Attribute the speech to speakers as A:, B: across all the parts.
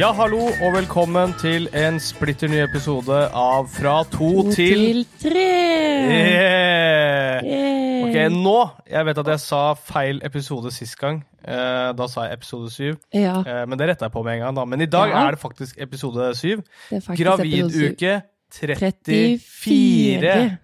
A: Ja, hallo, og velkommen til en splitter ny episode av Fra to til
B: tre.
A: yeah.
B: Yay.
A: Ok, nå Jeg vet at jeg sa feil episode sist gang. Eh, da sa jeg episode syv.
B: Ja,
A: Eh, men det retta jeg på med en gang, da. Men i dag
B: Ja.
A: er det faktisk episode syv.
B: det er faktisk episode
A: Graviduke 34.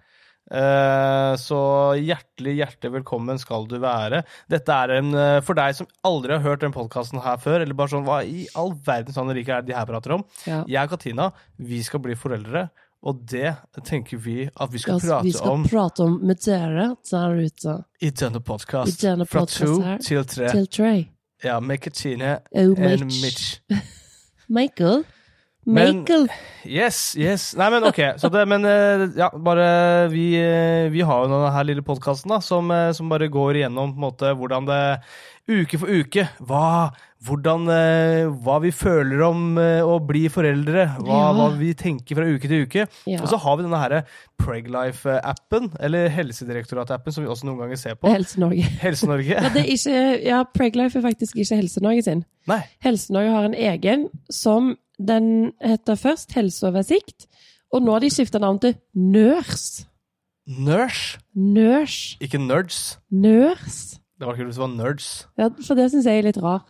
A: Eh, så hjertelig, hjertelig velkommen skal du være. Dette er en eh, for deg som aldri har hørt den podkasten her før, eller bare sånn Hva i all verdens land og rike er det de her prater om?
B: Ja.
A: Jeg og Katina, vi skal bli foreldre, og det tenker vi at vi skal
B: Altså,
A: prate
B: vi skal
A: om
B: prate om med dere der ute
A: i denne podkast.
B: I denne
A: Fra
B: podcast
A: to
B: her.
A: til tre.
B: til Trey.
A: Ja, med Katina
B: Oh,
A: and
B: Mitch.
A: Mitch.
B: Michael.
A: Men-
B: Michael.
A: Yes, yes. Nei, men ok. Så det, men eh, ja, bare Vi, eh, vi har jo denne her lille podkasten som, eh, som bare går igjennom på en måte hvordan det Uke for uke. Hva, hvordan, eh, hva vi føler om eh, å bli foreldre. Hva,
B: Ja.
A: hva vi tenker fra uke til uke.
B: Ja.
A: Og så har vi denne her eh, Preglife-appen, eller Helsedirektoratet-appen, som vi også noen ganger ser på.
B: Helse Norge.
A: Helse-Norge.
B: Eh, Ja, det er ikke, ja, Preglife er faktisk ikke Helse Norge sin.
A: Nei.
B: Helse Norge har en egen som den heter først Helseoversikt, og nå har de skifta navn til Nørs.
A: Nurse.
B: Nørs.
A: Ikke nerds.
B: Nørs.
A: Det var kult hvis det var nerds.
B: Ja, for det syns jeg er litt rart.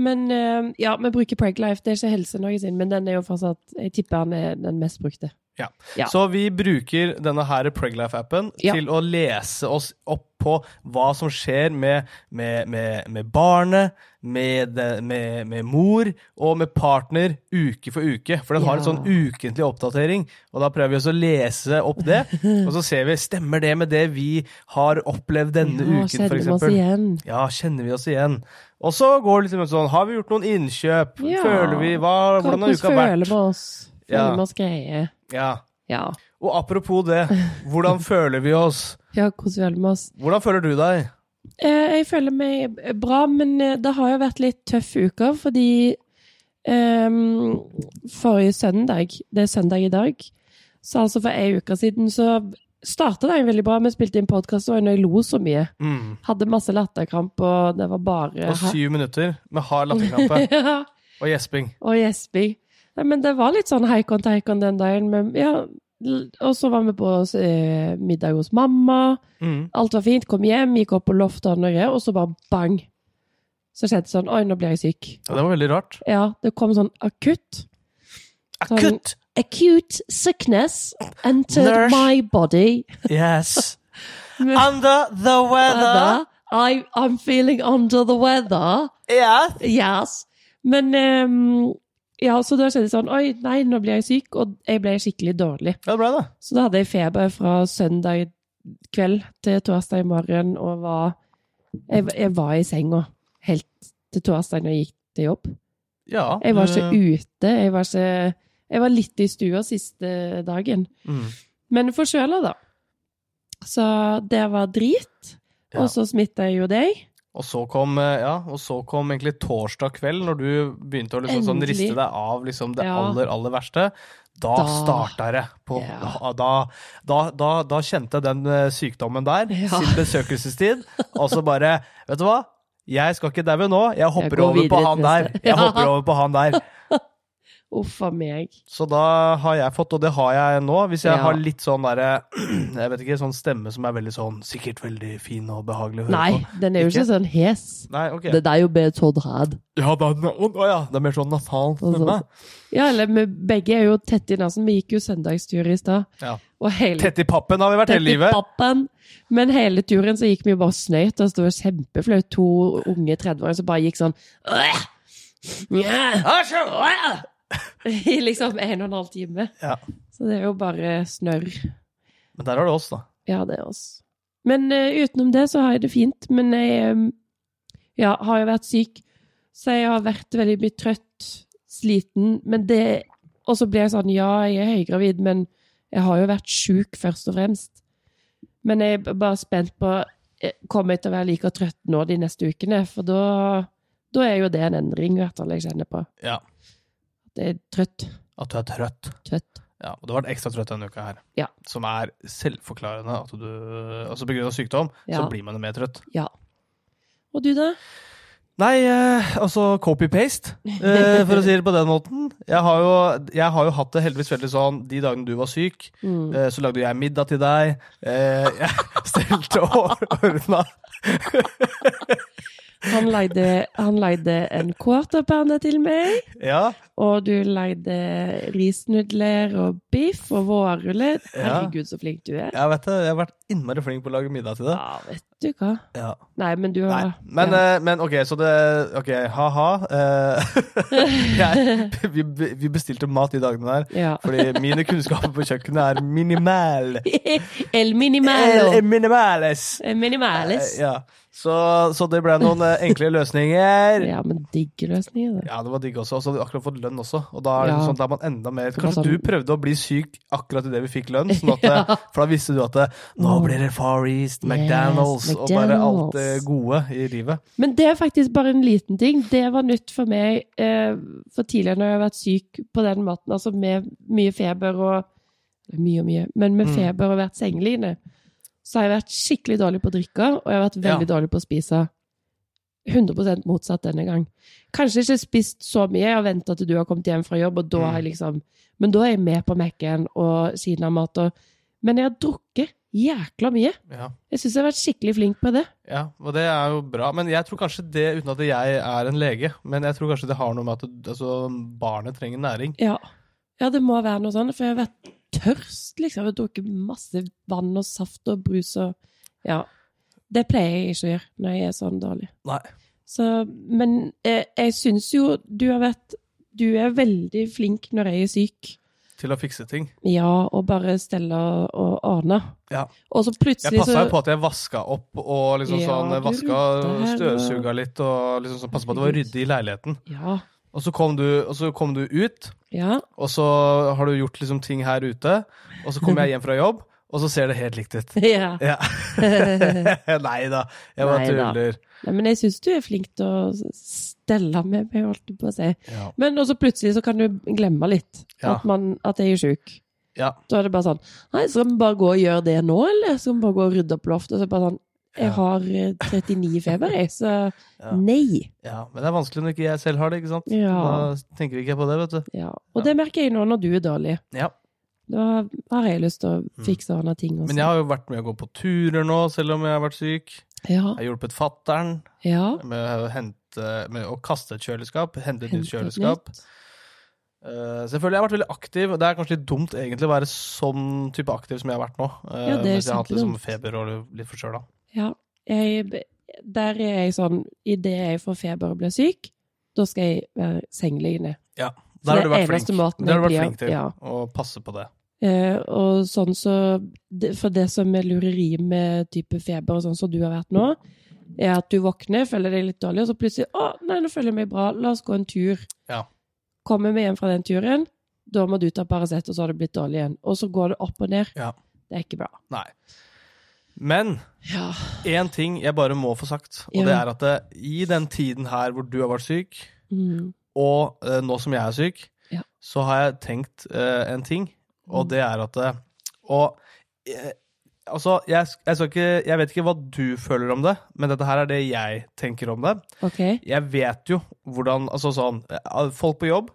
B: Men eh, ja, vi bruker Preglife. Det er ikke Helse Norge sin, men den er jo fortsatt Jeg tipper den er den mest brukte.
A: Ja.
B: Ja.
A: Så vi bruker denne her Preglife-appen
B: Ja.
A: til å lese oss opp på hva som skjer med, med, med, med barnet, med, det- med, med mor og med partner uke for uke. For den har en
B: Ja.
A: sånn ukentlig oppdatering, og da prøver vi også å lese opp det. Og så ser vi stemmer det med det vi har opplevd denne
B: Ja,
A: uken,
B: kjenner vi oss
A: f.eks.
B: igjen?
A: Ja, kjenner vi oss igjen? Og så går det liksom sånn, har vi gjort noen innkjøp?
B: Ja.
A: Føler vi, hva, hvordan har
B: Hvordan
A: uka
B: føler
A: vært?
B: vi oss? Føler
A: Ja.
B: vi oss greie?
A: Ja.
B: Ja.
A: Og apropos det, hvordan føler vi oss?
B: ja, hvordan føler vi oss?
A: Hvordan føler du deg?
B: Eh, jeg føler meg bra, men eh, det har jo vært litt tøffe uker, fordi ehm, Forrige søndag, det er søndag i dag, så altså for ei uke siden så starta dagen veldig bra. Vi spilte inn podkast, og jeg lo så mye.
A: Mm.
B: Hadde masse latterkramp, og det var bare
A: Og syv minutter med hard latterkrampe
B: Ja,
A: og gjesping.
B: og gjesping. Nei, Men det var litt sånn heikon teikon den dagen. Men, ja, l- og så var vi på eh, middag hos mamma.
A: Mm.
B: Alt var fint. Kom hjem, gikk opp på loftet og noe, og så bare bang! Så skjedde det sånn Oi, nå blir jeg syk.
A: Ja, det var veldig rart.
B: Ja, det kom sånn akutt. Sånn-
A: Akutt!
B: Acute sickness entered
A: Nurse.
B: my body.
A: Yes.
B: Men-
A: Under the weather.
B: Weather. I, I'm feeling under the weather.
A: Yes.
B: Yes. Men ehm, ja, så da skjedde det sånn Oi, nei, nå ble jeg syk, og jeg ble skikkelig dårlig.
A: Ja, det ble det.
B: Så da hadde jeg feber fra søndag kveld til torsdag morgen, og var Jeg, jeg var i senga helt til torsdag når jeg gikk til jobb.
A: Ja. Eh,
B: Jeg var ikke
A: du-
B: ute. Jeg var, ikke, jeg var litt i stua siste dagen.
A: Mm.
B: Men forkjøla, da. Så det var drit.
A: Ja.
B: Og så smitta jeg jo deg.
A: Og så kom eh, ja, og så kom egentlig torsdag kveld, når du begynte å liksom, sånn,
B: Endelig.
A: riste deg av liksom, det
B: Ja.
A: aller, aller verste. Da,
B: Da.
A: starta det. På,
B: Ja.
A: da, da, da, da kjente jeg den eh, sykdommen der
B: Ja.
A: sin besøkelsestid, og så bare Vet du hva? Jeg skal ikke daue nå. Jeg hopper
B: går
A: over på
B: videre
A: han
B: til
A: der.
B: neste.
A: Jeg
B: Ja.
A: hopper over på han der.
B: Uff a meg.
A: Så da har jeg fått, og det har jeg nå, hvis jeg
B: Ja.
A: har litt sånn derre Jeg vet ikke, sånn stemme som er veldig sånn Sikkert veldig fin og behagelig å høre
B: Nei,
A: på.
B: den er jo
A: Ikke?
B: ikke sånn hes.
A: Nei, ok.
B: Det er jo bedre Todd had.
A: Ja, det er, å, ja, det er mer sånn nasal
B: Og så-
A: stemme.
B: Ja, eller vi begge er jo tett i nesen. Vi gikk jo søndagstur i stad.
A: Ja.
B: Og hele
A: Tett i pappen har vi vært
B: tett
A: hele
B: i
A: livet.
B: pappen. Men hele turen så gikk vi jo bare og snøyt. Altså, det var kjempeflaut. To unge 30-åringer som bare gikk sånn «Åh! Nja! Åh!» I liksom en og en halv time.
A: Ja.
B: Så det er jo bare snørr.
A: Men der har du oss, da.
B: Ja, det er oss. Men eh, utenom det så har jeg det fint. Men jeg eh, ja, har jo vært syk, så jeg har vært veldig mye trøtt, sliten. Men det Og så blir jeg sånn Ja, jeg er høygravid, men jeg har jo vært sjuk først og fremst. Men jeg er b- bare spent på eh, Kommer jeg til å være like trøtt nå de neste ukene? For da, da er jo det en endring, i hvert fall, jeg kjenner på.
A: Ja.
B: Det er trøtt.
A: At du er trøtt.
B: Trøtt.
A: Ja, og du har vært ekstra trøtt denne uka her.
B: Ja.
A: Som er selvforklarende. At du, altså På grunn av sykdom, så
B: Ja.
A: blir man jo mer trøtt.
B: Og du, da?
A: Nei, eh, altså copy-paste, eh, for å si det på den måten. Jeg har, jo, jeg har jo hatt det heldigvis veldig sånn de dagene du var syk,
B: Mm.
A: eh, så lagde jeg middag til deg. Eh, jeg stelte og ordna.
B: Han, leide, han leide en quarterpanne til meg,
A: Ja,
B: og du leide risnudler og biff og vårruller.
A: Ja.
B: Herregud, så flink du er.
A: jeg vet det. Jeg har vært innmari flink på å lage middag til det.
B: Ja, vet du hva.
A: Ja.
B: Nei, men du
A: Nei,
B: har
A: men,
B: ja.
A: eh, men ok, så det Ok, ha-ha. Eh, vi, vi bestilte mat de dagene der,
B: Ja.
A: fordi mine kunnskaper på kjøkkenet er minimal.
B: El minimalo.
A: El minimales.
B: El Minimales.
A: Eh, Ja. Så, så det ble noen eh, enkle løsninger.
B: Ja, men digge løsninger, det.
A: Ja, det var digg også. Og så hadde vi akkurat fått lønn også. Og da er det
B: Ja.
A: sånn, da er man enda mer
B: Det var
A: Kanskje
B: sånn-
A: du prøvde å bli syk akkurat idet vi fikk lønn? Sånn at, eh, For da visste du at det, nå blir det Far East, McDonald's og bare alt det
B: McDonald's.
A: gode i livet.
B: Men det er faktisk bare en liten ting. Det var nytt for meg eh, for tidligere når jeg har vært syk på den måten, altså med mye feber og eller Mye og mye, men med
A: Mm.
B: feber og vært sengeliggende, så har jeg vært skikkelig dårlig på å drikke, og jeg har vært veldig dårlig på å spise. 100 motsatt denne gang. Kanskje ikke spist så mye, jeg har venta til du har kommet hjem fra jobb, og da har jeg liksom Men da er jeg med på Mac-en og kinamat og Men jeg har drukket jækla mye.
A: Ja.
B: Jeg syns jeg har vært skikkelig flink på det.
A: Ja, og det er jo bra. Men jeg tror kanskje det, uten at jeg er en lege, men jeg tror kanskje det har noe med at du- altså, barnet trenger næring.
B: Ja. ja, det må være noe sånn, for jeg har vært tørst, liksom. Jeg har drukket masse vann og saft og brus og Ja. Det pleier jeg ikke å gjøre når jeg er sånn dårlig.
A: Nei.
B: Så, men eh, jeg syns jo du har vært Du er veldig flink når jeg er syk.
A: Til å fikse ting.
B: Ja, og bare stelle og ordne.
A: Ja.
B: Og så
A: Jeg
B: plutselig
A: passa
B: så
A: jo på at jeg vaska opp og liksom
B: Ja,
A: sånn
B: du
A: vaska
B: rydda
A: og
B: her, du-
A: støvsuga litt og liksom sånn, passa på at det var
B: Herregud.
A: ryddig i leiligheten.
B: Ja.
A: Og så kom du, og så kom du ut,
B: Ja.
A: og så har du gjort liksom ting her ute, og så kommer jeg hjem fra jobb, og så ser det helt likt ut.
B: ja.
A: Ja. Nei da, jeg bare
B: Neida.
A: tuller.
B: Nei, men jeg syns du er flink til å stelle med meg, holdt jeg på å si.
A: Ja.
B: Men også plutselig så kan du glemme litt
A: Ja.
B: at, man, at jeg er sjuk.
A: Ja.
B: Da er det bare sånn Nei, skal vi bare gå og gjøre det nå, eller skal vi bare gå og rydde opp loftet? Og så er det bare sånn Jeg
A: Ja.
B: har eh, 39 i feber, jeg, så
A: Ja.
B: nei.
A: ja, Men det er vanskelig når ikke jeg selv har det, ikke sant?
B: Ja.
A: Da tenker ikke jeg på det, vet du.
B: Ja. Og det merker jeg nå når du er dårlig.
A: Ja.
B: Da har jeg lyst til å fikse og ordne ting. Også.
A: Mm. Men jeg har jo vært med å gå på turer nå, selv om jeg har vært syk.
B: ja.
A: Jeg har hjulpet fattern
B: ja.
A: med å hente med å kaste et kjøleskap, hente et nytt
B: Hentet
A: kjøleskap.
B: nytt.
A: Eh, selvfølgelig jeg har vært veldig aktiv. Det er kanskje litt dumt egentlig å være sånn type aktiv som jeg har vært nå. eh,
B: Ja, det er
A: mens jeg har hatt liksom
B: kjempedumt.
A: feber og litt forkjøla.
B: Ja. Jeg, der er jeg sånn Idet jeg får feber og blir syk, da skal jeg være sengeliggende. Så
A: Der har
B: det
A: du vært
B: er eneste
A: flink.
B: måten
A: Det har du vært
B: jeg
A: flink
B: blir-
A: til.
B: ja.
A: Å passe på det.
B: Eh, og sånn så det- For det som er lureri med type feber og sånn som du har vært nå, er at du våkner, føler deg litt dårlig, og så plutselig Å, nei, nå føler jeg meg bra, la oss gå en tur.
A: Ja.
B: Kommer vi hjem fra den turen, da må du ta Paracet, og så har du blitt dårlig igjen. Og så går det opp og ned.
A: Ja.
B: Det er ikke bra.
A: Nei. Men
B: Ja.
A: én ting jeg bare må få sagt, og
B: Ja.
A: det er at eh, i den tiden her hvor du har vært syk,
B: Mm.
A: og eh, nå som jeg er syk,
B: Ja.
A: så har jeg tenkt eh, en ting, og
B: Mm.
A: det er at eh, Og eh, altså, jeg, sk- jeg, skal ikke, jeg vet ikke hva du føler om det, men dette her er det jeg tenker om det.
B: OK.
A: Jeg vet jo hvordan Altså sånn eh, Folk på jobb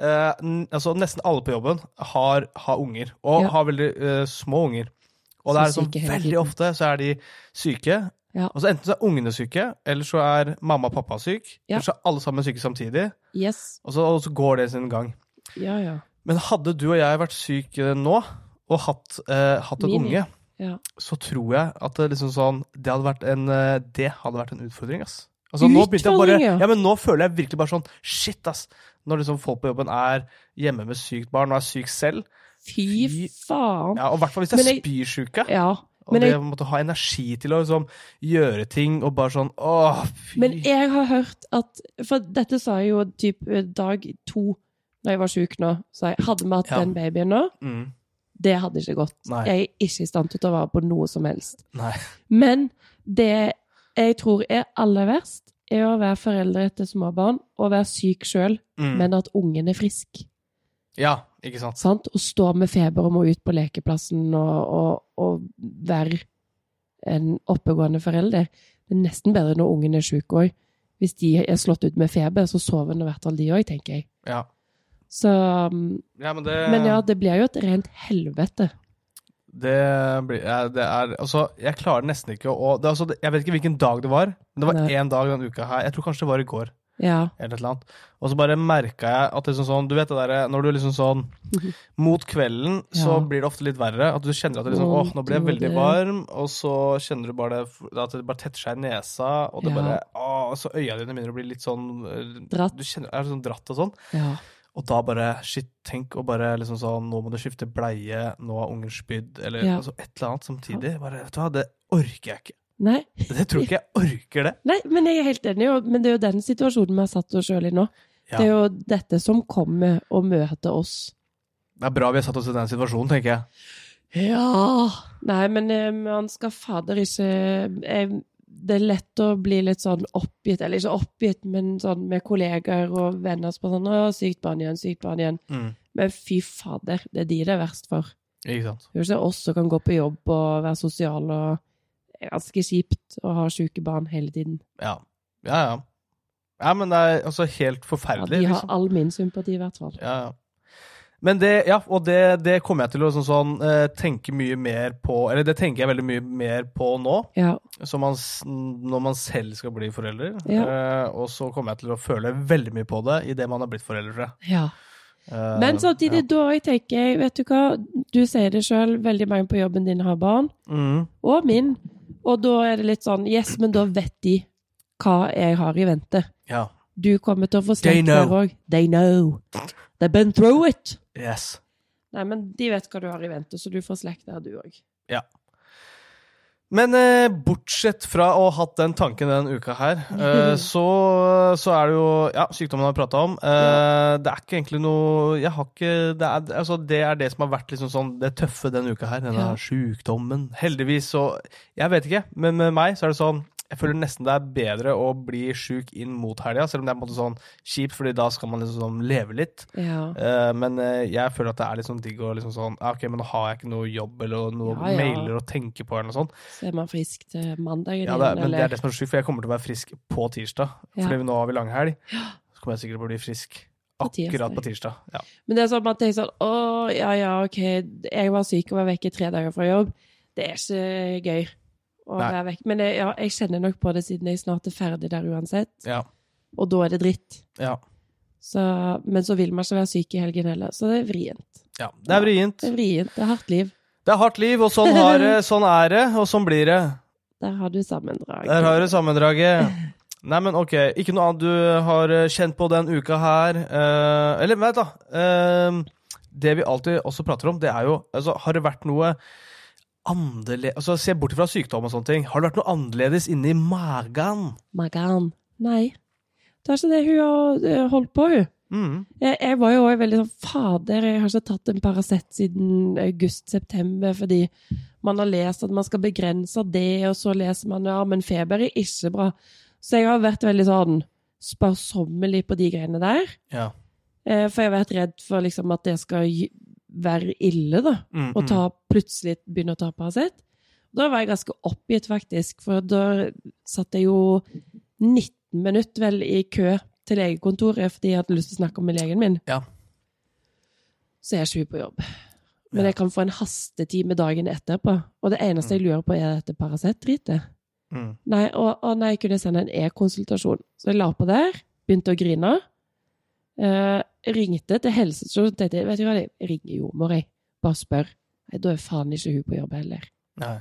A: eh, n altså Nesten alle på jobben har, har unger, og
B: Ja.
A: har veldig eh, små unger. Og det
B: Som
A: er sånn
B: syke hele
A: veldig
B: tiden.
A: ofte så er de syke.
B: Ja.
A: Og så Enten så er ungene syke, eller så er mamma og pappa syk.
B: Ja.
A: Eller så er alle sammen syke samtidig.
B: Yes.
A: Og så, og så går det sin gang.
B: Ja, ja.
A: Men hadde du og jeg vært syke nå, og hatt, eh, hatt et
B: Mini.
A: unge,
B: ja.
A: så tror jeg at det liksom sånn Det hadde vært en, eh, det hadde vært en utfordring, ass. Altså, nå begynte jeg bare,
B: Utfordring, ja.
A: ja, men nå føler jeg virkelig bare sånn Shit, ass! Når liksom folk på jobben er hjemme med sykt barn og er syk selv.
B: Fy
A: Fy-
B: faen.
A: Ja, og i hvert fall hvis det
B: Men
A: er
B: jeg-
A: spysjuke.
B: Ja.
A: Og
B: Men
A: det
B: jeg,
A: å måtte ha energi til å liksom gjøre ting og bare sånn Åh, fy
B: men jeg har hørt at For dette sa jeg jo typ eh, dag to da jeg var sjuk nå. Så jeg hadde vi hatt
A: Ja.
B: den babyen nå,
A: mm,
B: det hadde ikke gått.
A: Nei.
B: Jeg er ikke i stand til å ta vare på noe som helst.
A: Nei.
B: Men det jeg tror er aller verst, er å være foreldre til småbarn og være syk sjøl,
A: Mm.
B: men at ungen er frisk.
A: Ja, ikke sant?
B: Sant? Og stå med feber og må ut på lekeplassen og, og, og være en oppegående forelder. Det er nesten bedre når ungen er sjuk òg. hvis de er slått ut med feber, så sover nå i hvert fall de òg, tenker jeg.
A: Ja.
B: Så um,
A: Ja, men det,
B: Men ja, det blir jo et rent helvete.
A: det, blir, ja, det er Altså, jeg klarer nesten ikke å det, er altså, Jeg vet ikke hvilken dag det var, men det var
B: Nei.
A: én dag denne uka her. Jeg tror kanskje det var i går.
B: Ja.
A: eller et eller annet. Og så bare merka jeg at liksom sånn, du vet det der, når du liksom sånn
B: Mhm.
A: Mot kvelden så
B: Ja.
A: blir det ofte litt verre. At du kjenner at det liksom,
B: Å,
A: åh, nå ble jeg
B: det
A: veldig
B: var
A: varm, og så kjenner du bare det, at det bare tetter seg i nesa, og det
B: Ja.
A: bare, åh, så øya dine begynner å bli litt sånn eh,
B: Dratt.
A: Du kjenner, er sånn dratt og sånn.
B: ja.
A: Og da bare shit, tenk å bare liksom sånn Nå må du skifte bleie, nå har ungen spydd, eller
B: Ja.
A: altså, et eller annet samtidig. Bare, vet du hva, det orker jeg ikke.
B: Nei.
A: Det tror ikke jeg orker det.
B: Nei, men jeg er helt enig, og- men det er jo den situasjonen vi har satt oss sjøl i nå.
A: Ja.
B: Det er jo dette som kommer og møter oss.
A: Det er bra vi har satt oss i den situasjonen, tenker jeg.
B: Ja! Nei, men eh, man skal fader ikke eh, Det er lett å bli litt sånn oppgitt, eller ikke oppgitt, men sånn med kollegaer og venner som bare sånn Å, sykt barn igjen, sykt barn igjen.
A: Mm.
B: Men fy fader, det er de det er verst for.
A: Ikke sant.
B: Det er jo ikke oss som kan gå på jobb og være sosiale og det er ganske kjipt å ha sjuke barn hele tiden.
A: Ja, ja. ja. ja men det er altså helt
B: Ja,
A: forferdelig,
B: de har
A: liksom.
B: all min sympati, i hvert fall.
A: Ja, ja. Men det, ja, og det, det kommer jeg til å sånn, sånn, eh, tenke mye mer på Eller det tenker jeg veldig mye mer på nå,
B: Ja.
A: som man, s- når man selv skal bli forelder. Eh, og så kommer jeg til å føle veldig mye på det idet man har blitt forelder, tror jeg.
B: ja.
A: Eh,
B: Men samtidig,
A: ja.
B: da jeg tenker jeg, vet du hva, du sier det sjøl, veldig mange på jobben din har barn,
A: Mm,
B: og min, og da er det litt sånn, yes, men da vet de hva jeg har i vente.
A: ja.
B: Du kommer til å få
A: They
B: slekt der
A: know.
B: òg. They know. They've been through it.
A: Yes.
B: Nei, men de vet hva du har i vente, så du får slekt der, du òg.
A: Men eh, bortsett fra å ha hatt den tanken den uka her, eh, så, så er det jo ja, sykdommen har prata om. Eh, Det er ikke egentlig noe Jeg har ikke Det er, altså, det, er det som har vært liksom sånn det tøffe den uka her. Denne
B: Ja.
A: sykdommen. Heldigvis så Jeg vet ikke, men med meg så er det sånn jeg føler nesten det er bedre å bli sjuk inn mot helga, selv om det er på en måte sånn kjipt, fordi da skal man liksom sånn leve litt.
B: Ja.
A: Eh, men eh, jeg føler at det er litt sånn digg å liksom sånn ah, Ok, men nå har jeg ikke noe jobb eller noe
B: Ja, ja.
A: mailer å tenke på eller noe sånt.
B: Så er man frisk til mandagen
A: Ja,
B: igjen,
A: det er, men det er
B: eller?
A: det som er sjukt, for jeg kommer til å være frisk på tirsdag.
B: Ja.
A: Fordi nå har vi langhelg. Så kommer jeg sikkert til å bli frisk
B: På tirsdag.
A: akkurat på tirsdag. Ja.
B: Men det er sånn at man tenker sånn Å, ja, ja, ok, jeg var syk og var vekk i tre dager fra jobb. Det er ikke gøy å
A: Nei.
B: være vekk. Men jeg, ja, jeg kjenner nok på det siden jeg snart er ferdig der uansett.
A: Ja.
B: Og da er det dritt.
A: Ja.
B: Så, men så vil man ikke være syk i helgen heller, så det er vrient.
A: ja. Det er vrient.
B: Det er vrient, det er hardt liv.
A: Det er hardt liv, og sånn, har det, sånn er det, og sånn blir det.
B: Der har du sammendrag.
A: Der har du sammendraget. Nei, men ok, ikke noe annet du har eh, kjent på den uka her. Eh, eller vent, da. Eh, det vi alltid også prater om, det er jo altså, Har det vært noe annerledes altså, Se bort fra sykdom og sånne ting. Har det vært noe annerledes inni magen?
B: Magan. Nei. Det er ikke det hun har eh, holdt på, hun.
A: Mm.
B: Jeg, jeg var jo også veldig sånn Fader, jeg har ikke tatt en Paracet siden august-september, fordi man har lest at man skal begrense det, og så leser man ja, men feber er ikke bra. Så jeg har vært veldig sånn sparsommelig på de greiene der.
A: Ja.
B: Eh, For jeg har vært redd for liksom at det skal gi- være ille, da.
A: Mm,
B: Og ta, plutselig begynne å ta Paracet. Da var jeg ganske oppgitt, faktisk, for da satt jeg jo 19 minutter vel i kø til legekontoret fordi jeg hadde lyst til å snakke om med legen min.
A: Ja.
B: Så jeg er sju på jobb. Men
A: Ja.
B: jeg kan få en hastetime dagen etterpå. Og det eneste jeg lurer på, er dette Paracet-dritet.
A: mm, mm.
B: Nei, og, og nei, jeg kunne sende en e-konsultasjon. Så jeg la på der, begynte å grine. Eh, ringte til helsestasjonen og tenkte jeg, vet du hva, jeg ringer jordmor, jeg. Bare spør. Nei, da er faen ikke hun på jobb heller.
A: Nei.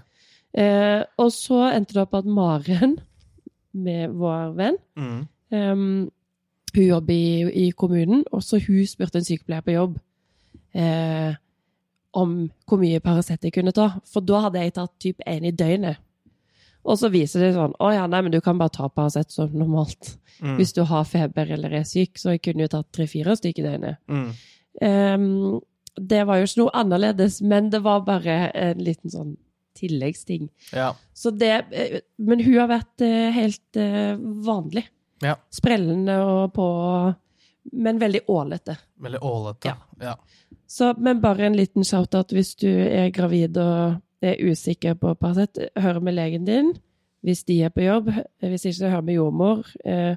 B: Eh, og så endte det opp at Maren, med vår venn,
A: Mm.
B: ehm, hun jobber i, i kommunen, og så hun spurte en sykepleier på jobb eh, om hvor mye Paracet jeg kunne ta. For da hadde jeg tatt typ én i døgnet. Og så viser det sånn Å ja, nei, men du kan bare ta Paracet som normalt.
A: Mm.
B: Hvis du har feber eller er syk, så jeg kunne jo tatt tre-fire stykker i døgnet.
A: Mm.
B: Ehm, det var jo ikke noe annerledes, men det var bare en liten sånn tilleggsting.
A: Ja.
B: Så det, eh, men hun har vært eh, helt eh, vanlig.
A: Ja.
B: Sprellende og på Men veldig ålete.
A: Veldig ålete.
B: Ja.
A: Ja.
B: Så, men bare en liten shout-out hvis du er gravid og er usikker på Paracet. Hør med legen din hvis de er på jobb. Hvis ikke, hør med jordmor. Eh,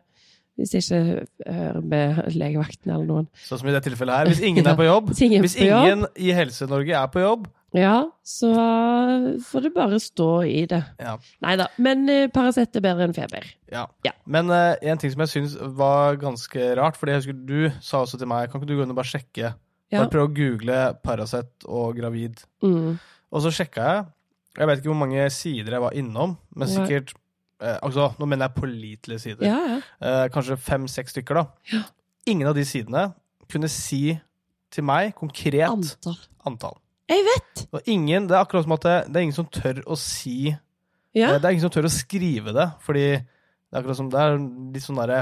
B: Hvis jeg ikke hører med legevakten eller noen.
A: Sånn som i det tilfellet her. Hvis ingen er på jobb,
B: Hvis ingen er
A: hvis
B: på jobb.
A: ingen i Helse-Norge er på jobb
B: Ja, så får du bare stå i det.
A: ja.
B: Nei da, men eh, Paracet er bedre enn feber.
A: Ja.
B: Ja.
A: Men eh, en ting som jeg syns var ganske rart, fordi jeg husker du sa også til meg Kan ikke du gå inn og bare sjekke?
B: Ja.
A: Bare prøve å google Paracet og gravid.
B: Mm.
A: Og så sjekka jeg. Jeg vet ikke hvor mange sider jeg var innom, men
B: Nei.
A: sikkert eh, Altså, nå mener jeg pålitelige sider.
B: Ja, ja.
A: Eh, kanskje fem-seks stykker, da.
B: Ja.
A: Ingen av de sidene kunne si til meg konkret
B: Antall.
A: antall.
B: Jeg vet!
A: Og ingen, det er akkurat som at det, det er ingen som tør å si
B: Ja.
A: Eh, Det er ingen som tør å skrive det, fordi det er akkurat som det er litt sånn derre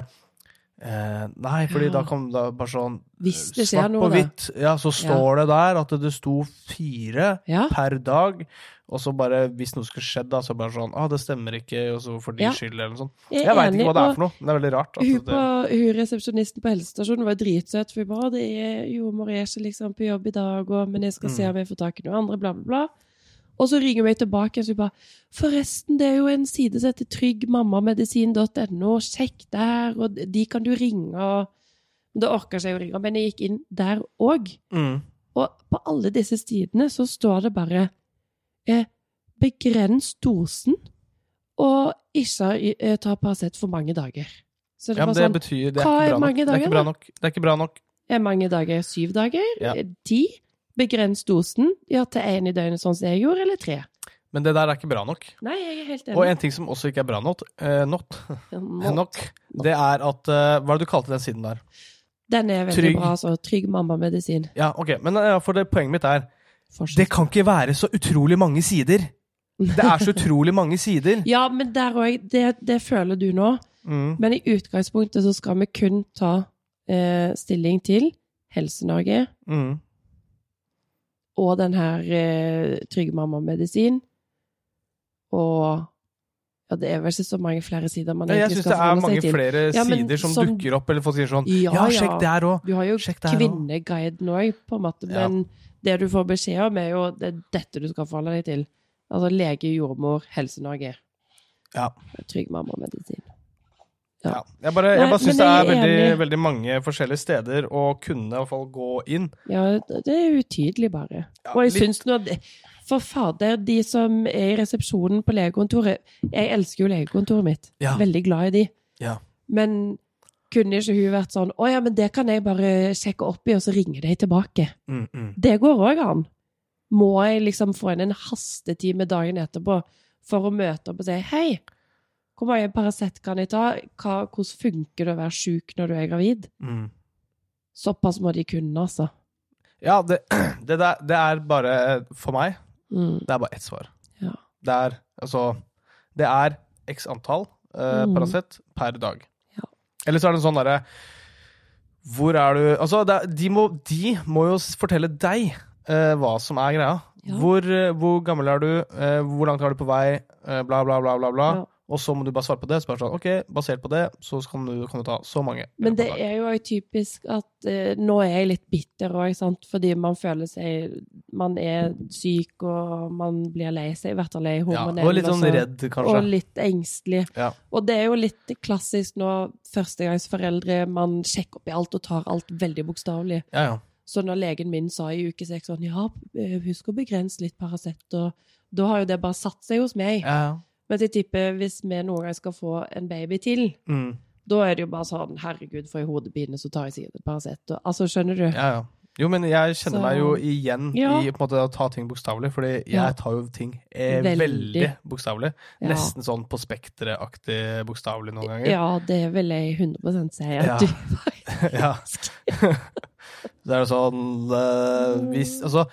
A: eh, Nei, fordi
B: Ja.
A: da kan da bare sånn
B: Hvis det skjer
A: Svart
B: noe,
A: på
B: da.
A: hvitt, ja, så står det der at det sto fire
B: Ja.
A: per dag, og så bare hvis noe skulle skjedd, da, så bare sånn Å, ah, det stemmer ikke, og så for din
B: Ja.
A: skyld, eller noe sånt.
B: Jeg,
A: Jeg veit
B: enig,
A: ikke hva det
B: og
A: er for noe, men det er veldig rart.
B: Hun,
A: At
B: på,
A: det,
B: hun resepsjonisten på helsestasjonen var jo dritsøt. For hun bare «Å, det er, 'Jordmor jeg er ikke liksom på jobb i dag, og, men jeg skal se
A: Mm.
B: om jeg får tak i noen andre', bla, bla, bla. Og så ringer hun meg tilbake, og så hun bare 'Forresten, det er jo en side som heter tryggmammamedisin.no. Sjekk der, og de kan du ringe', og Men Da orka ikke jeg å ringe, men jeg gikk inn der òg.
A: mm,
B: Og på alle disse sidene så står det bare eh, begrens dosen og ikke eh, ta Paracet for mange dager. Så det
A: ja,
B: var
A: men det
B: sånn
A: betyr Det er
B: hva er
A: ikke bra nok.
B: mange
A: Det er
B: dager,
A: ikke bra nok. Det er ikke bra nok.
B: er mange dager syv dager?
A: Ja.
B: Eh, Ti? Begrens dosen ja, til én i døgnet, sånn som jeg gjorde, eller tre?
A: Men det der er ikke bra nok.
B: Nei, jeg er helt
A: Og
B: enig.
A: en ting som også ikke er bra nok, eh, not, Eh,
B: Nå-
A: nok det er at eh, Hva er det du kalte den siden der?
B: Den er veldig
A: Trygg.
B: bra, altså. Trygg mammamedisin.
A: Ja, ok, men eh, for det, poenget mitt er
B: Fortsatt.
A: Det kan ikke være så utrolig mange sider! Det er så utrolig mange sider!
B: Ja, men der òg. Det, det føler du nå.
A: Mm.
B: Men i utgangspunktet så skal vi kun ta eh, stilling til Helse-Norge.
A: Mm.
B: og den her eh, Trygge mamma-medisin. Og ja, det er vel ikke så mange flere sider man
A: Ja, jeg
B: egentlig
A: syns
B: skal
A: det er
B: forholde
A: mange
B: seg til.
A: flere
B: Ja, men
A: sider som,
B: som-
A: dukker opp, eller folk sier sånn
B: Ja,
A: Ja,
B: ja.
A: sjekk der òg!
B: Du har jo
A: Sjekk der også.
B: kvinneguiden òg, på en måte,
A: Ja.
B: men det du får beskjed om, er jo det er dette du skal forholde deg til. Altså lege, jordmor, Helse-Norge.
A: Ja.
B: Trygg mamma-medisin. Ja.
A: Ja. Jeg bare, jeg
B: Nei,
A: bare syns
B: men
A: det er
B: jeg er
A: veldig,
B: enig.
A: veldig mange forskjellige steder å kunne i hvert fall gå inn.
B: Ja, det er utydelig, bare.
A: Ja,
B: og jeg
A: litt-
B: syns nå at- For fader, de som er i resepsjonen på legekontoret Jeg elsker jo legekontoret mitt.
A: Ja.
B: Veldig glad i de.
A: Ja.
B: Men kunne ikke hun vært sånn Å ja, men det kan jeg bare sjekke opp i, og så ringe deg tilbake.
A: Mm, mm.
B: Det går òg an. Må jeg liksom få inn en hastetime dagen etterpå for å møte opp og si hei? Hvor mange Paracet kan jeg ta? Hva, hvordan funker det å være sjuk når du er gravid?
A: Mm.
B: Såpass må de kunne, altså.
A: Ja, det, det, der, det er bare For meg,
B: Mm.
A: det er bare ett svar.
B: Ja.
A: Det er altså Det er x antall eh,
B: Mm.
A: Paracet per dag.
B: Ja.
A: Eller så er det en sånn derre Hvor er du Altså, det, er- de, må, de må jo s- fortelle deg eh, hva som er greia.
B: Ja.
A: Hvor, eh, hvor gammel er du? Eh, hvor langt er du på vei? Eh, bla, bla, bla, bla. bla.
B: Ja.
A: Og så må du bare svare på det. Så bare sånn, ok, Basert på det så kan du, kan du ta så mange.
B: Men det er jo også typisk at eh, nå er jeg litt bitter òg, sant, fordi man føler seg Man er syk, og man blir lei seg, i hvert fall er jeg
A: ja,
B: hormonell.
A: Og litt sånn
B: altså,
A: redd, kanskje.
B: Og litt engstelig.
A: Ja.
B: Og det er jo litt klassisk nå, førstegangsforeldre, man sjekker opp i alt og tar alt veldig bokstavelig.
A: Ja, ja.
B: Så når legen min sa i uke seks sånn Ja, eh, husk å begrense litt Paracet, og da har jo det bare satt seg hos meg.
A: ja, ja.
B: Mens jeg tipper hvis vi noen gang skal få en baby til,
A: Mm.
B: da er det jo bare sånn Herregud, får jeg hodepine, så tar jeg sikkert et Paracet. og- Altså, skjønner du?
A: Ja, ja. Jo, men jeg kjenner
B: Så-
A: meg jo igjen
B: Ja.
A: i på en måte, å ta ting bokstavelig, fordi jeg
B: Ja.
A: tar jo ting eh,
B: Veldig.
A: veldig, bokstavelig.
B: Ja.
A: Nesten sånn på spekteret-aktig bokstavelig noen ganger.
B: Ja, det vil jeg 100 si at
A: Ja.
B: du
A: Ja. Så er det sånn eh, hvis, Altså,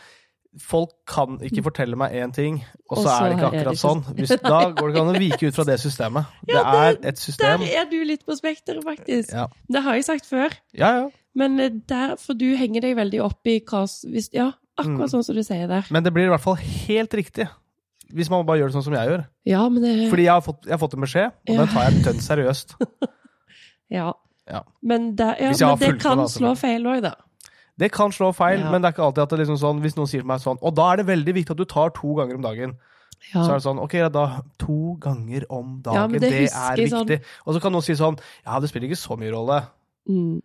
A: folk kan ikke fortelle meg én ting, og så er det ikke akkurat sånn. Hvis, da går det ikke an å vike ut fra det systemet. Det er et
B: Der
A: system.
B: er du litt på spekteret, faktisk.
A: Ja,
B: Det har jeg sagt før.
A: ja. ja.
B: Men eh, der, for du henger deg veldig opp i hva s- hvis, Ja,
A: Mm.
B: akkurat sånn som du sier der.
A: Men det blir i hvert fall helt riktig. Hvis man bare gjør det sånn som jeg gjør.
B: Ja, men det
A: Fordi jeg har fått, jeg har fått en beskjed, og
B: Ja.
A: den tar jeg dønn seriøst.
B: ja.
A: Ja.
B: Men, der, ja,
A: Hvis jeg har
B: men det
A: fulgt med,
B: kan
A: da,
B: slå
A: selvfølgelig.
B: feil òg, da.
A: Det kan slå feil,
B: Ja.
A: men det er ikke alltid at det liksom sånn, hvis noen sier til meg sånn Og da er det veldig viktig at du tar to ganger om dagen. Så er
B: Ja.
A: det sånn, ok, da to ganger om dagen,
B: Ja, men
A: det,
B: det
A: er
B: husker jeg sånn-
A: viktig. Og så kan noen si sånn, ja, det spiller ikke så mye rolle.
B: Mm.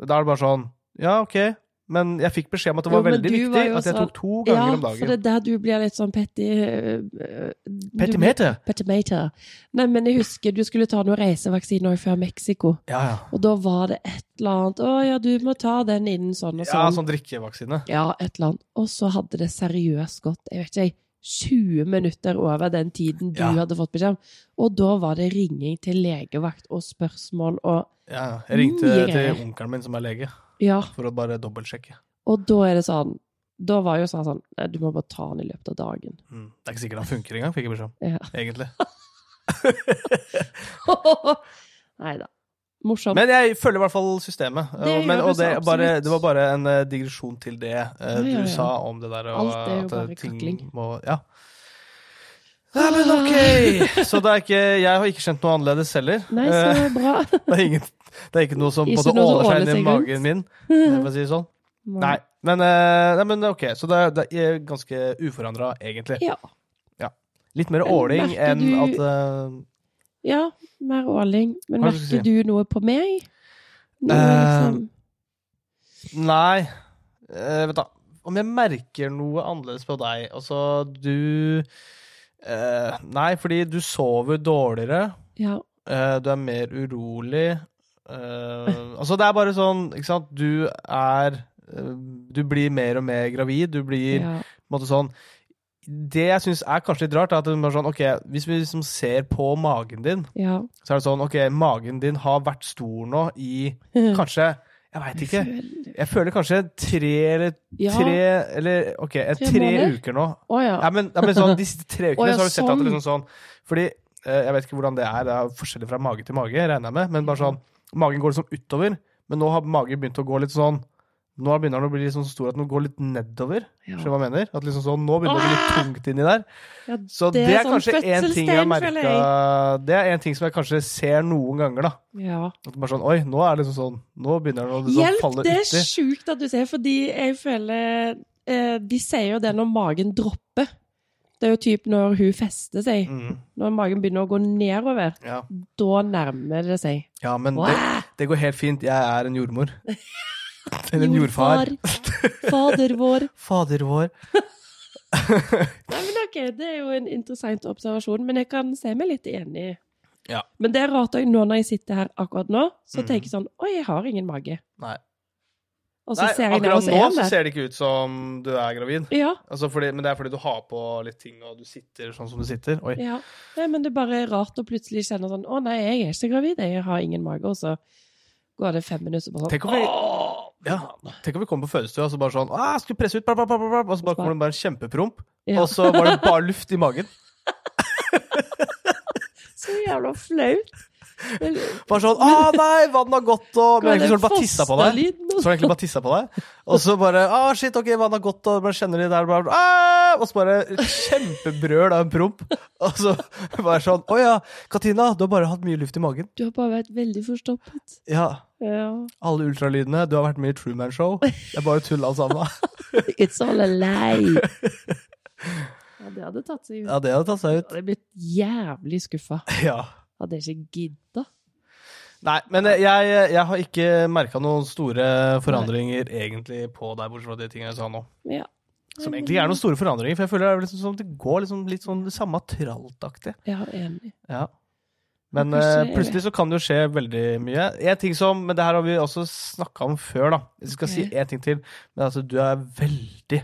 A: Da er det bare sånn, ja, ok, men jeg fikk beskjed om at det
B: Jo,
A: var
B: men
A: veldig
B: du
A: viktig
B: var jo
A: at jeg
B: sånn-
A: tok to
B: Ja,
A: ganger om
B: for
A: dagen.
B: det er der du blir litt sånn petty øh, øh, du blir-
A: Petimeter!
B: Petimeter. Nei, men jeg husker du skulle ta noen reisevaksiner før Mexico.
A: Ja, ja.
B: Og da var det et eller annet Å ja, du må ta den innen sånn og
A: Ja,
B: sånn. Ja,
A: sånn drikkevaksine.
B: et eller annet. Og så hadde det seriøst gått jeg vet ikke, jeg, 20 minutter over den tiden du
A: Ja.
B: hadde fått beskjed om. Og da var det ringing til legevakt og spørsmål og
A: Ja, ja. jeg ringte
B: Mye
A: til
B: greier.
A: onkelen min som er lege,
B: Ja.
A: for å bare dobbeltsjekke.
B: Og da er det sånn Da var jo sånn sånn Nei, du må bare ta den i løpet av dagen.
A: Mm. Det er ikke sikkert han funker engang, fikk jeg beskjed om,
B: Ja.
A: egentlig.
B: Nei da. Morsomt.
A: Men jeg følger i hvert fall systemet.
B: Det
A: og- men,
B: gjør du
A: og
B: så
A: det, er bare,
B: absolutt.
A: det var bare en eh, digresjon til det eh, du
B: ja, ja.
A: sa om det der. Og,
B: Alt er jo
A: at, eh,
B: bare
A: ting
B: kakling.
A: Må, ja. Nei, men ok! Så det er ikke, jeg har ikke kjent noe annerledes heller.
B: Nei,
A: Eh,
B: så bra.
A: det, er ingen, det er ikke noe som
B: Ikke
A: både
B: noe som
A: åler seg inn i
B: åler seg rundt.
A: magen min. For å si det sånn. Nei, men, eh, nei, men ok. Så det, er- det er ganske uforandra, egentlig.
B: Ja.
A: Litt mer
B: Men
A: åling
B: merker
A: enn
B: du-
A: at eh,
B: Ja, mer åling. Men
A: Hva er det du
B: merker
A: skal
B: du noe på meg? Noe,
A: Eh,
B: liksom?
A: Nei. Eh, vent, da. Om jeg merker noe annerledes på deg Altså, du eh, Nei, fordi du sover dårligere.
B: Ja.
A: eh, du er mer urolig. eh, altså, det er bare sånn, ikke sant Du er eh, Du blir mer og mer gravid. Du blir
B: ja.
A: på en måte sånn Det jeg syns er kanskje litt rart, er at hun bare sånn Ok, hvis vi liksom ser på magen din,
B: ja.
A: så er det sånn Ok, magen din har vært stor nå i
B: Mm.
A: kanskje Jeg veit ikke. Jeg føler kanskje tre eller
B: Ja.
A: tre eller ok, eh,
B: Tre
A: tre,
B: måneder?
A: uker nå.
B: Å ja.
A: Ja, men, ja, men sånn, De siste tre ukene
B: Å, ja,
A: så har du sett at det er
B: sånn.
A: liksom sånn Fordi eh, jeg vet ikke hvordan det er, det er forskjellig fra mage til mage, regner jeg med, men bare sånn Magen går liksom utover, men nå har magen begynt å gå litt sånn Nå begynner den å bli liksom så stor at den går litt nedover.
B: Ja.
A: Skjønner du hva jeg mener? At liksom sånn, Nå begynner det å bli litt tungt inni der.
B: Ja,
A: Så det
B: det
A: er,
B: er sånn
A: kanskje én ting jeg
B: fødselstegn,
A: merka
B: føler
A: Det er en ting som jeg kanskje ser noen ganger, da.
B: ja.
A: At bare sånn, Oi, nå er det liksom sånn Nå begynner den å liksom
B: Hjelp,
A: falle
B: det er
A: uti.
B: sjukt at du sier, fordi jeg føler eh, De sier jo det når magen dropper. Det er jo typ når hun fester seg.
A: Mm,
B: Når magen begynner å gå nedover,
A: ja.
B: da nærmer det seg.
A: ja, men det,
B: Wow!
A: Det går helt fint. Jeg er en jordmor. Eller en jordfar.
B: Jordfar. Fader vår.
A: Fader vår.
B: Nei, men ok, Det er jo en interessant observasjon, men jeg kan se meg litt enig.
A: Ja.
B: Men det er rart også, nå når jeg sitter her akkurat nå, så
A: Mhm.
B: tenker jeg sånn Oi, jeg har ingen mage.
A: Nei.
B: Og så
A: Nei
B: ser jeg
A: akkurat nå så
B: det.
A: ser det ikke ut som du er gravid.
B: Ja,
A: Altså fordi, men det er fordi du har på litt ting, og du sitter sånn som du sitter. Oi.
B: ja. Nei, men det er bare rart å plutselig kjenne sånn Å nei, jeg er ikke gravid, jeg har ingen mage. Og så går det fem minutter og bare sånn
A: Tenk om vi, ja, tenk om vi kommer på fødestua og så bare sånn «Ah, Skulle presse ut, bla, bla, bla, bla, bla», og så bare kommer det bare en kjempepromp,
B: ja.
A: og så var det bare luft i magen.
B: Så jævla flaut. Vel,
A: Bare sånn Å nei, vannet har gått, og Men egentlig
B: går
A: så har du bare tissa på deg.
B: fosterlyden og
A: Så har jeg egentlig bare tisset på deg, og så bare Å, shit, ok, vannet har gått, og bare kjenner de der bla, bla, «Ah!» Og så bare kjempebrøl av en promp. Og så bare sånn Å ja, Katina, du har bare hatt mye luft i magen.
B: Du har bare vært veldig forstoppet.
A: Ja.
B: Ja.
A: Alle ultralydene. Du har vært med i Truman Show. Det er bare tull, alt sammen.
B: It's all a lie. Ja, det hadde tatt seg ut.
A: Ja, det hadde tatt seg
B: Jeg
A: ut.
B: hadde blitt jævlig skuffa.
A: Ja.
B: Hadde jeg ikke gidda.
A: Nei, men eh, jeg, jeg har ikke merka noen store forandringer egentlig på deg, bortsett fra de tingene jeg sa nå.
B: Ja.
A: Som egentlig ikke er noen store forandringer, for jeg føler det, er liksom, som det går liksom litt sånn det samme traltaktig.
B: Ja, enig.
A: Ja. Men
B: Men plutselig-
A: eh, plutselig så kan det jo skje veldig mye. En ting som, men det her har vi også snakka om før, da. Hvis jeg skal
B: Ok.
A: si én ting til, men altså, du er veldig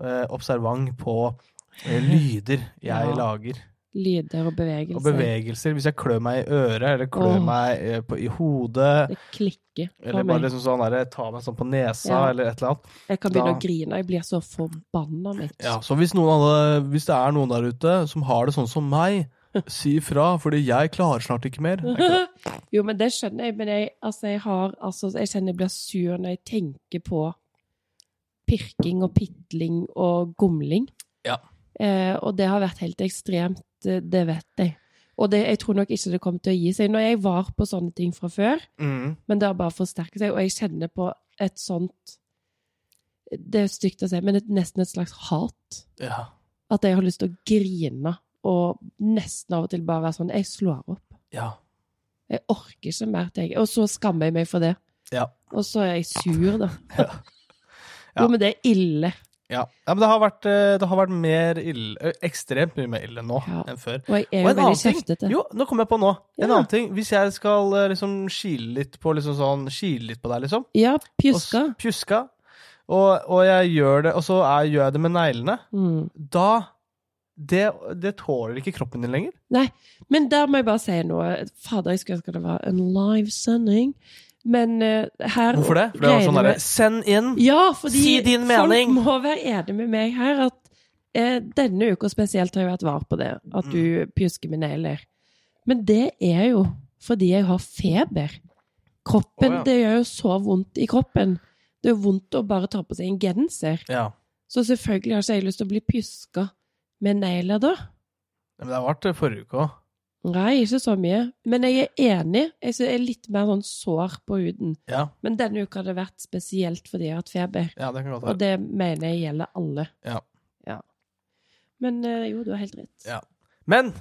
A: eh, observant på eh, lyder jeg
B: Ja.
A: lager,
B: Lyder og bevegelser.
A: og bevegelser. Hvis jeg klør meg i øret, eller klør
B: Åh.
A: meg eh, på, i hodet,
B: Det klikker for
A: eller bare
B: meg.
A: liksom sånn der, ta meg sånn på nesa,
B: Ja.
A: eller et eller annet.
B: Jeg kan begynne
A: Da-
B: å grine. Jeg blir så forbanna mitt.
A: Ja, så hvis, noen hadde, hvis det er noen der ute som har det sånn som meg, si ifra, fordi jeg klarer snart ikke mer. Er ikke det?
B: Jo, men det skjønner jeg. Men jeg, altså, jeg har altså, Jeg kjenner jeg blir sur når jeg tenker på pirking og pitling og gomling.
A: Ja.
B: Eh, og det har vært helt ekstremt, eh, det vet jeg. Og det, jeg tror nok ikke det kommer til å gi seg. Når jeg var på sånne ting fra før,
A: Mm.
B: men det har bare forsterket seg, og jeg kjenner på et sånt Det er stygt å si, men et, nesten et slags hat.
A: Ja.
B: at jeg har lyst til å grine og nesten av og til bare være sånn Jeg slår opp.
A: Ja.
B: Jeg orker ikke mer til jeg Og så skammer jeg meg for det.
A: Ja.
B: Og så er jeg sur, da.
A: Ja.
B: Jo, men det er ille.
A: ja. ja men det har vært, eh, det har vært mer ille, eh, ekstremt mye mer ille nå
B: Ja.
A: enn før.
B: Og jeg
A: Og
B: er jo
A: en annen
B: veldig
A: ting-
B: kjeftete.
A: Jo, nå kommer jeg på nå. En
B: Ja.
A: annen ting. Hvis jeg skal eh, liksom kile litt på liksom sånn, kile litt på deg, liksom.
B: Ja,
A: og s-
B: pjuska.
A: Pjuska. Og, og jeg gjør det, og så er, gjør jeg det med neglene.
B: Mm.
A: Da det, det tåler ikke kroppen din lenger.
B: Men der må jeg bare si noe. Fader, jeg skulle ønske det var en live sending. Men eh, her
A: Hvorfor det? For det var sånn
B: regner
A: derre
B: med-
A: Send inn!
B: Ja, fordi
A: Si din mening.
B: folk må være enige med meg her at eh, denne uka spesielt har jeg vært var på det. At
A: Mm.
B: du pjusker med negler. Men det er jo fordi jeg har feber. Kroppen,
A: Å, ja.
B: Det gjør jo så vondt i kroppen. Det er jo vondt å bare ta på seg en genser.
A: Ja.
B: Så selvfølgelig har ikke jeg lyst til å bli pjuska med negler da.
A: Men det har vært det forrige uke òg.
B: Nei, ikke så mye. Men jeg er enig. Jeg synes jeg er litt mer sånn sår på huden.
A: Ja.
B: Men denne uka har det vært spesielt fordi jeg har hatt feber.
A: ja, det kan godt være.
B: Og det mener jeg gjelder alle.
A: Ja.
B: Ja. Men eh, jo, du har helt rett.
A: Ja. Men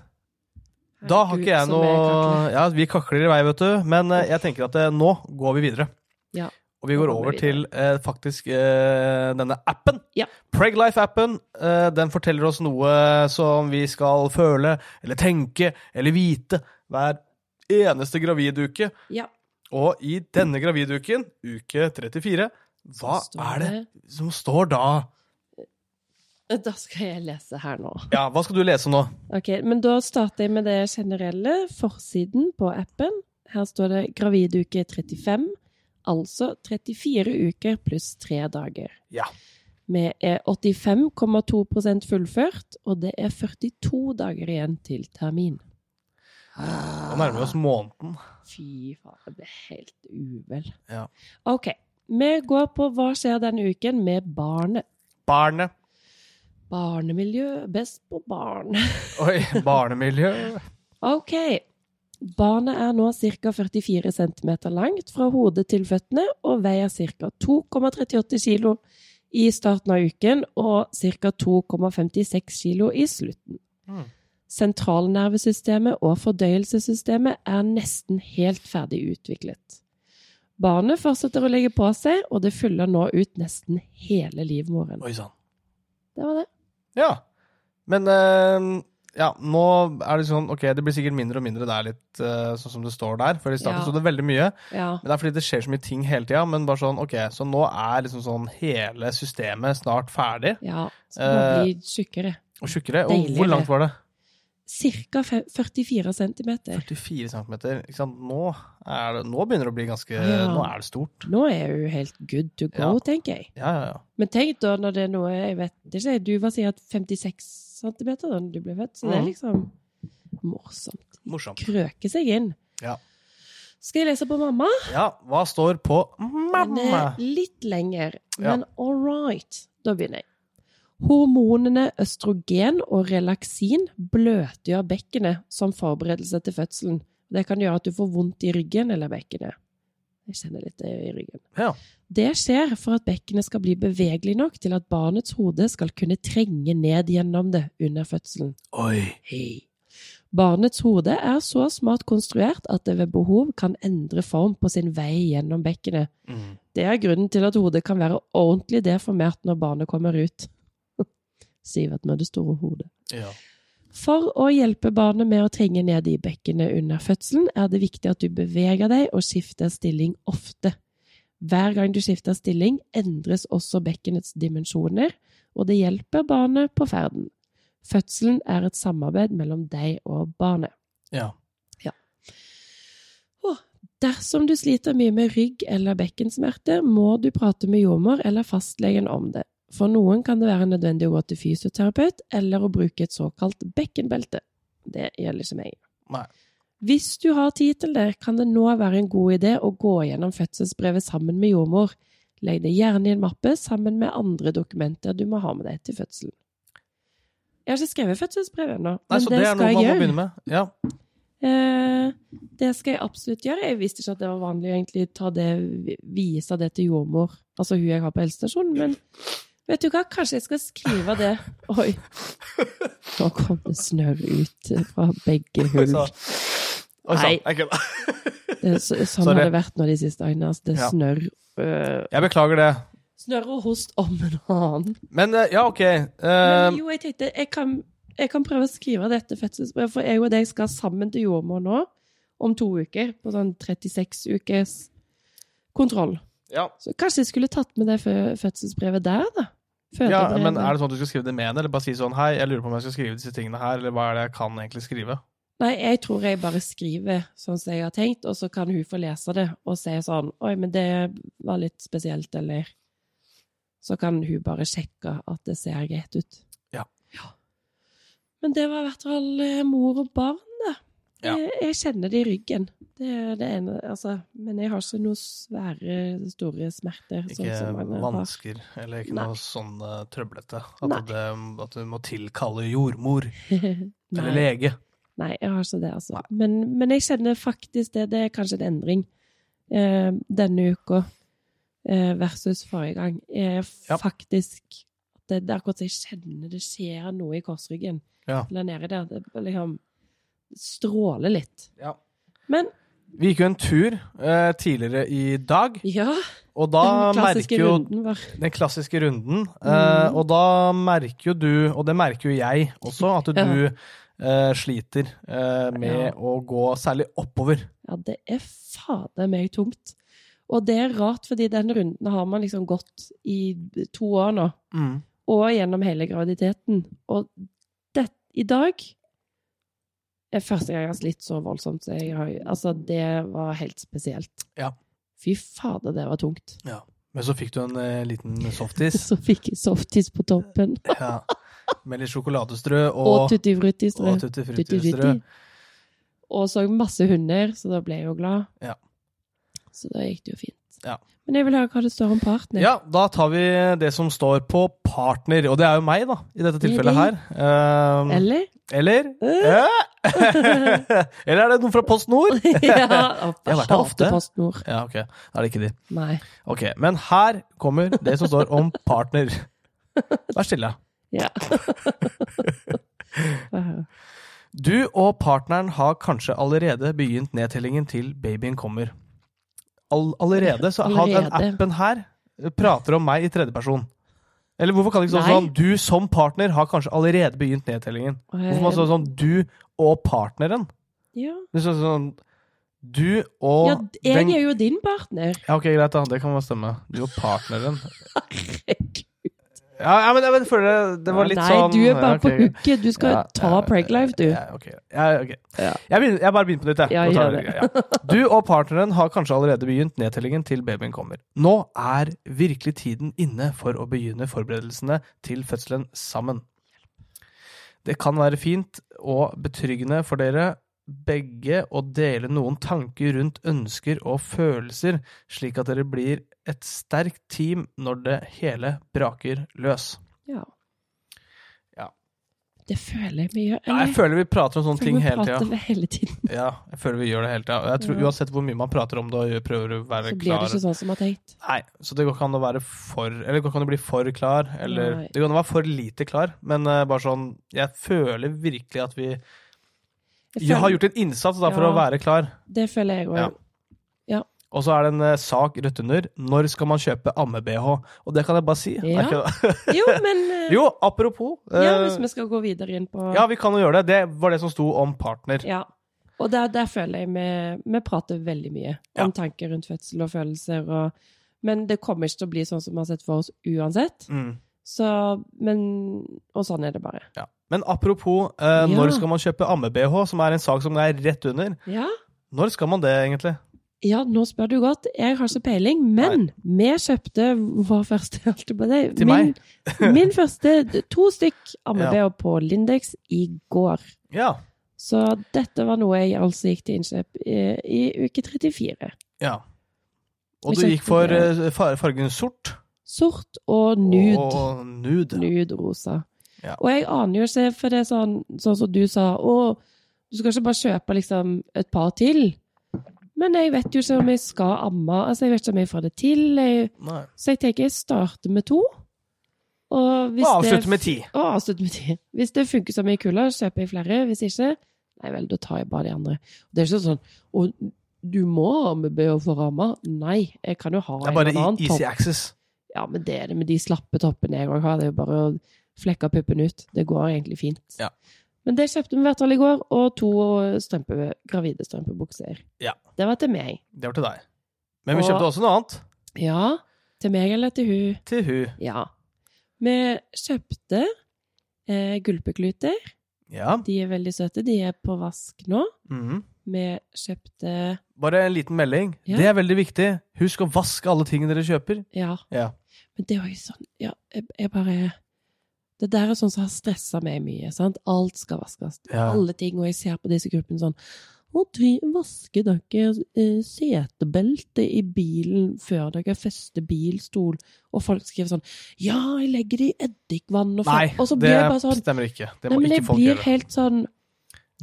A: da har
B: Herregud,
A: ikke jeg
B: som jeg
A: noe
B: kakler.
A: Ja, vi kakler i vei, vet du. Men eh, jeg tenker at eh, nå går vi videre.
B: Ja.
A: Og vi
B: Nå
A: går
B: går vi
A: over til
B: videre.
A: eh, faktisk eh, denne appen.
B: Ja.
A: Preglife-appen. Eh, den forteller oss noe som vi skal føle, eller tenke, eller vite hver eneste graviduke.
B: Ja.
A: Og i denne graviduken, uke 34, hva
B: Så står
A: er det som står da?
B: det- Da skal jeg lese her nå.
A: Ja, hva skal du lese nå?
B: Ok, Men da starter jeg med det generelle. Forsiden på appen. Her står det graviduke 35. Altså 34 uker pluss 3 dager.
A: Ja.
B: Vi er 85,2 fullført, og det er 42 dager igjen til termin.
A: Nå nærmer vi oss måneden.
B: Fy faen, det ble helt uvel.
A: Ja.
B: Ok, vi går på hva skjer denne uken med barnet.
A: Barnet.
B: Barnemiljø, best på barn.
A: Oi, barnemiljø.
B: Ok, barnet er nå ca. 44 cm langt fra hodet til føttene og veier ca. 2,38 kg i starten av uken og ca. 2,56 kg i slutten.
A: Mm.
B: Sentralnervesystemet og fordøyelsessystemet er nesten helt ferdig utviklet. Barnet fortsetter å legge på seg, og det fyller nå ut nesten hele livmoren.
A: Oi sann.
B: Det var det.
A: Ja. Men eh, ja, nå er det sånn Ok, det blir sikkert mindre og mindre der, litt eh, sånn som det står der. For i starten
B: Ja.
A: sto det veldig mye.
B: Ja.
A: Men det er fordi det skjer så mye ting hele tida. Men bare sånn, ok, så nå er liksom sånn hele systemet snart ferdig
B: ja. Skal nå
A: Eh.
B: bli tjukkere.
A: og tjukkere. Og
B: Deilig,
A: hvor langt
B: det.
A: var det?
B: Cirka fe- 44 centimeter.
A: 44 cm. Ikke sant. Nå, er det, nå begynner det å bli ganske
B: Ja.
A: Nå er det stort.
B: Nå er hun helt good to go,
A: Ja.
B: tenker jeg.
A: Ja, ja, ja.
B: Men tenk da når det er noe Jeg vet ikke, du var sikkert 56 centimeter da du ble født, så det er
A: Mhm.
B: liksom morsomt.
A: Morsomt.
B: Krøke seg inn.
A: Ja.
B: Skal jeg lese på mamma?
A: Ja, hva står på
B: Den
A: mamma?
B: er litt lenger,
A: Ja.
B: men all right. Da begynner jeg. Hormonene østrogen og relaksin bløtgjør bekkenet som forberedelse til fødselen. Det kan gjøre at du får vondt i ryggen eller bekkenet. Jeg kjenner litt det i ryggen.
A: Ja.
B: Det skjer for at bekkenet skal bli bevegelig nok til at barnets hode skal kunne trenge ned gjennom det under fødselen.
A: Oi.
B: Hei. Barnets hode er så smart konstruert at det ved behov kan endre form på sin vei gjennom bekkenet.
A: Mm.
B: Det er grunnen til at hodet kan være ordentlig deformert når barnet kommer ut. Sivert med det store hodet.
A: Ja.
B: For å hjelpe barnet med å trenge ned i bekkenet under fødselen, er det viktig at du beveger deg og skifter stilling ofte. Hver gang du skifter stilling, endres også bekkenets dimensjoner, og det hjelper barnet på ferden. Fødselen er et samarbeid mellom deg og barnet.
A: ja.
B: Dersom du sliter mye med rygg- eller bekkensmerter, må du prate med jordmor eller fastlegen om det. For noen kan det være nødvendig å gå til fysioterapeut eller å bruke et såkalt bekkenbelte. Det gjelder ikke meg.
A: Nei.
B: Hvis du har tid til det, kan det nå være en god idé å gå gjennom fødselsbrevet sammen med jordmor. Legg det gjerne i en mappe sammen med andre dokumenter du må ha med deg til fødselen. Jeg har ikke skrevet fødselsbrevet ennå,
A: Nei,
B: men
A: så det,
B: det
A: er noe
B: skal
A: man
B: jeg
A: må
B: gjøre.
A: begynne med. Ja.
B: Eh, det skal jeg absolutt gjøre. Jeg visste ikke at det var vanlig å egentlig ta det, vise det til jordmor, altså hun jeg har på helsestasjonen, men Vet du hva, kanskje jeg skal skrive det. Oi. Nå kom det snø ut fra begge
A: Oi,
B: hull.
A: sann. Oi, sann.
B: Nei.
A: Jeg kødder.
B: Det, er så, sånn
A: Sorry.
B: har det vært nå de siste dagene. Altså, det
A: Ja.
B: snør. øh,
A: Jeg beklager det.
B: snør og host om en annen.
A: Men eh, ja, OK. eh,
B: Men jo, jeg tenkte jeg kan, jeg kan prøve å skrive dette fødselsbrevet, for jeg og deg skal sammen til jordmor nå om to uker. På sånn 36 ukers kontroll.
A: ja.
B: Så kanskje jeg skulle tatt med det fø- fødselsbrevet der, da?
A: ja,
B: Fødebrevet.
A: men er det sånn at du skal skrive det med henne, eller bare si sånn Hei, jeg lurer på om jeg skal skrive disse tingene her, eller hva er det jeg kan egentlig skrive?
B: Nei, jeg tror jeg bare skriver sånn som jeg har tenkt, og så kan hun få lese det og si sånn Oi, men det var litt spesielt, eller Så kan hun bare sjekke at det ser greit ut.
A: Ja.
B: Men det var i hvert fall eh, mor og barn, da.
A: Ja.
B: Jeg, jeg kjenner det i ryggen. Det er det ene, altså. Men jeg har ikke noe svære, store smerter. sånn
A: Ikke
B: som mange har.
A: vansker eller ikke
B: Nei.
A: noe sånn eh, trøblete.
B: Nei.
A: At, det, at du må tilkalle jordmor eller
B: Nei.
A: lege.
B: Nei, jeg har ikke det, altså. Men, men jeg kjenner faktisk det. Det er kanskje en endring eh, denne uka eh, versus forrige gang. Eh,
A: Ja.
B: Faktisk det, det er akkurat så jeg kjenner det skjer noe i korsryggen.
A: Ja.
B: Eller nede der. Det bare liksom stråler litt.
A: Ja.
B: Men
A: Vi gikk jo en tur eh, tidligere i dag,
B: ja,
A: og da
B: den klassiske
A: merker jo
B: runden var
A: den klassiske runden. eh,
B: Mhm.
A: Og da merker jo du, og det merker jo jeg også, at
B: Ja.
A: du eh, sliter eh, med
B: Ja.
A: å gå særlig oppover.
B: Ja, det er fader meg tomt. Og det er rart, fordi den runden har man liksom gått i to år nå. og gjennom hele graviditeten. Og det, i dag er første gang jeg har slitt så voldsomt. Så jeg har, altså, det var helt spesielt.
A: Ja.
B: Fy fader, det var tungt.
A: Men så fikk du en eh, liten softis
B: Så fikk jeg softis på toppen.
A: ja, med litt sjokoladestrø
B: Og
A: og, og
B: tuttifruttistrø.
A: tutti frutti-strø.
B: Tutti-frutti. Og så masse hunder, så da ble jeg jo glad.
A: Ja.
B: Så da gikk det jo fint.
A: Ja.
B: Men jeg vil høre hva det står om partner.
A: Ja, da tar vi det som står på partner, og det er jo meg, da, i dette
B: Det er
A: tilfellet her.
B: deg.
A: Eh,
B: Eller? Øh?
A: eller Eh? Eller er det noen fra Post Nord?
B: ja,
A: Jeg har vært der ofte.
B: Post Nord.
A: Ja, ok. Da er det ikke de.
B: Nei.
A: Ok, men her kommer det som står om partner. Vær stille.
B: Ja.
A: Du og partneren har kanskje allerede begynt nedtellingen til babyen kommer. All, allerede, så har den
B: Allerede.
A: appen her prater om meg i tredjeperson. Eller hvorfor kan det ikke stå
B: Nei.
A: sånn du som partner har kanskje allerede begynt nedtellingen? Hvorfor må det stå sånn du og partneren?
B: Eh, ja.
A: Det står sånn du og
B: Ja, jeg
A: den-
B: er jo din partner.
A: Ja, ok, greit, da. Det kan bare stemme. Du og partneren. Ja, ja men jeg vet- føler det, det var litt
B: Nei,
A: sånn
B: du er bare
A: ja,
B: på
A: ok.
B: hooket. Du skal
A: Ja,
B: ta
A: ja,
B: Preglife, du.
A: Ja, ok. Ja, ok.
B: Ja.
A: Jeg, begynner, jeg bare begynner på nytt, jeg.
B: Ja,
A: Nå tar
B: gjør
A: jeg det. Ja. Du og partneren har kanskje allerede begynt nedtellingen til babyen kommer. Nå er virkelig tiden inne for å begynne forberedelsene til fødselen sammen. Det kan være fint og betryggende for dere begge å dele noen tanker rundt ønsker og følelser, slik at dere blir et sterkt team når det hele braker løs.
B: Ja.
A: Ja.
B: Det føler jeg vi gjør.
A: Ja, jeg
B: eller?
A: føler vi prater om sånne
B: For
A: ting
B: vi
A: hele tida.
B: prater hele tiden,
A: Ja, jeg føler vi gjør det hele tida. Og jeg tror
B: Ja.
A: Uansett hvor mye man prater om det og prøver å være
B: så blir
A: klar
B: det ikke sånn som jeg har tenkt.
A: Nei, Så det går ikke an å være for Eller det går ikke an å bli for klar, eller
B: Nei.
A: Det går an å være for lite klar, men eh, bare sånn Jeg føler virkelig at vi
B: Jeg
A: Jeg har
B: føler-
A: gjort en innsats da for
B: Ja.
A: å være klar.
B: Det føler jeg òg.
A: Ja. Og så er det en eh, sak rødt under. Når skal man kjøpe amme-BH? Og det kan jeg bare si. Er
B: Ja.
A: ikke det?
B: Jo, men eh,
A: Jo, apropos.
B: ja,
A: eh,
B: Hvis vi skal gå videre inn på
A: ja, vi kan jo gjøre det. Det var det som sto om partner.
B: Ja. Og der, der føler jeg vi, vi prater veldig mye
A: Ja.
B: om tanker rundt fødsel og følelser. Og, men det kommer ikke til å bli sånn som vi har sett for oss uansett.
A: Mm.
B: Så, men, og sånn er det bare.
A: Ja. Men apropos eh,
B: Ja.
A: når skal man kjøpe amme-BH, som er en sak som er rett under.
B: Ja.
A: Når skal man det, egentlig?
B: ja, nå spør du godt. Jeg har ikke peiling, men vi kjøpte vår første jeg holdt på deg.
A: Til
B: min, min første to stykk
A: Ja.
B: amme-BH på Lindex i går.
A: Ja.
B: Så dette var noe jeg altså gikk til innkjøp i, i uke 34.
A: ja. Og
B: Vi
A: du gikk
B: kjøpte
A: for
B: det.
A: eh, far- fargen sort
B: Sort og nude.
A: og nude.
B: Nude rosa.
A: Ja.
B: Og jeg aner jo ikke, for det er sånn, sånn som du sa, å, du skal ikke bare kjøpe liksom et par til. Men jeg vet jo ikke om jeg skal amme, altså jeg vet ikke om jeg får det til. Jeg,
A: Nei.
B: så jeg tenker jeg starter med to. Og
A: Og avslutte
B: det-
A: med ti.
B: Og avslutte med ti. Hvis det funker som ei kule, kjøper jeg flere. Hvis ikke, nei vel, da tar jeg bare de andre. Det er ikke sånn Å, du må ha med BH for ramma. Nei, jeg kan jo ha
A: Det er
B: en
A: bare
B: eller annen
A: i- easy
B: topp.
A: access.
B: Ja, men det er det med de slappe toppene jeg òg har. Det er jo bare å flekke puppen ut. Det går egentlig fint.
A: Ja.
B: Men det kjøpte vi i hvert fall i går, og to strømpe, gravide strømpebukser.
A: Ja.
B: Det var til meg.
A: Det var til deg. Men vi
B: Og-
A: kjøpte også noe annet.
B: Ja. Til meg eller til hun?
A: Til hun.
B: Ja. Vi kjøpte eh, gulpekluter.
A: Ja.
B: De er veldig søte. De er på vask nå.
A: Mhm.
B: Vi kjøpte
A: Bare en liten melding.
B: Ja.
A: Det er veldig viktig. Husk å vaske alle tingene dere kjøper.
B: Ja.
A: Ja.
B: Men det er jo sånn ja, jeg, jeg bare Det der er sånn som har stressa meg mye. sant? Alt skal vaskes.
A: Ja.
B: Alle ting. Og jeg ser på disse gruppene sånn Å, dri- vasker dere eh, setebeltet i bilen før dere fester bilstol? Og folk skriver sånn Ja, jeg legger det i eddikvann og
A: Nei,
B: faen. Og så
A: det
B: blir jeg bare sånn
A: stemmer ikke. Det
B: Nei,
A: må
B: men
A: ikke
B: jeg
A: folk
B: blir
A: gjøre.
B: helt sånn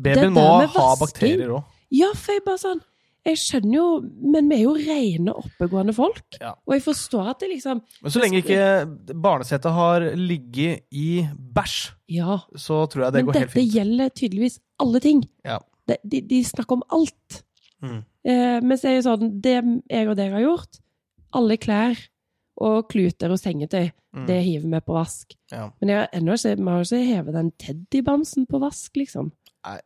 A: Babyen
B: Det
A: må
B: der med
A: ha
B: vasking-
A: bakterier òg.
B: Ja, for jeg bare sånn Jeg skjønner jo, men vi er jo rene, oppegående folk.
A: Ja.
B: Og jeg forstår at det liksom
A: Men så lenge ikke barnesettet har ligget i bæsj,
B: Ja,
A: så tror jeg det
B: men
A: går helt
B: dette
A: fint.
B: gjelder tydeligvis alle ting.
A: Ja.
B: De, de, de snakker om alt.
A: Mm.
B: Eh, mens jeg er sånn Det jeg og dere har gjort, alle klær og kluter og sengetøy,
A: Mm.
B: det hiver vi på vask.
A: Ja.
B: Men jeg har ennå ikke, vi har ikke hevet den teddybamsen på vask, liksom.
A: Nei.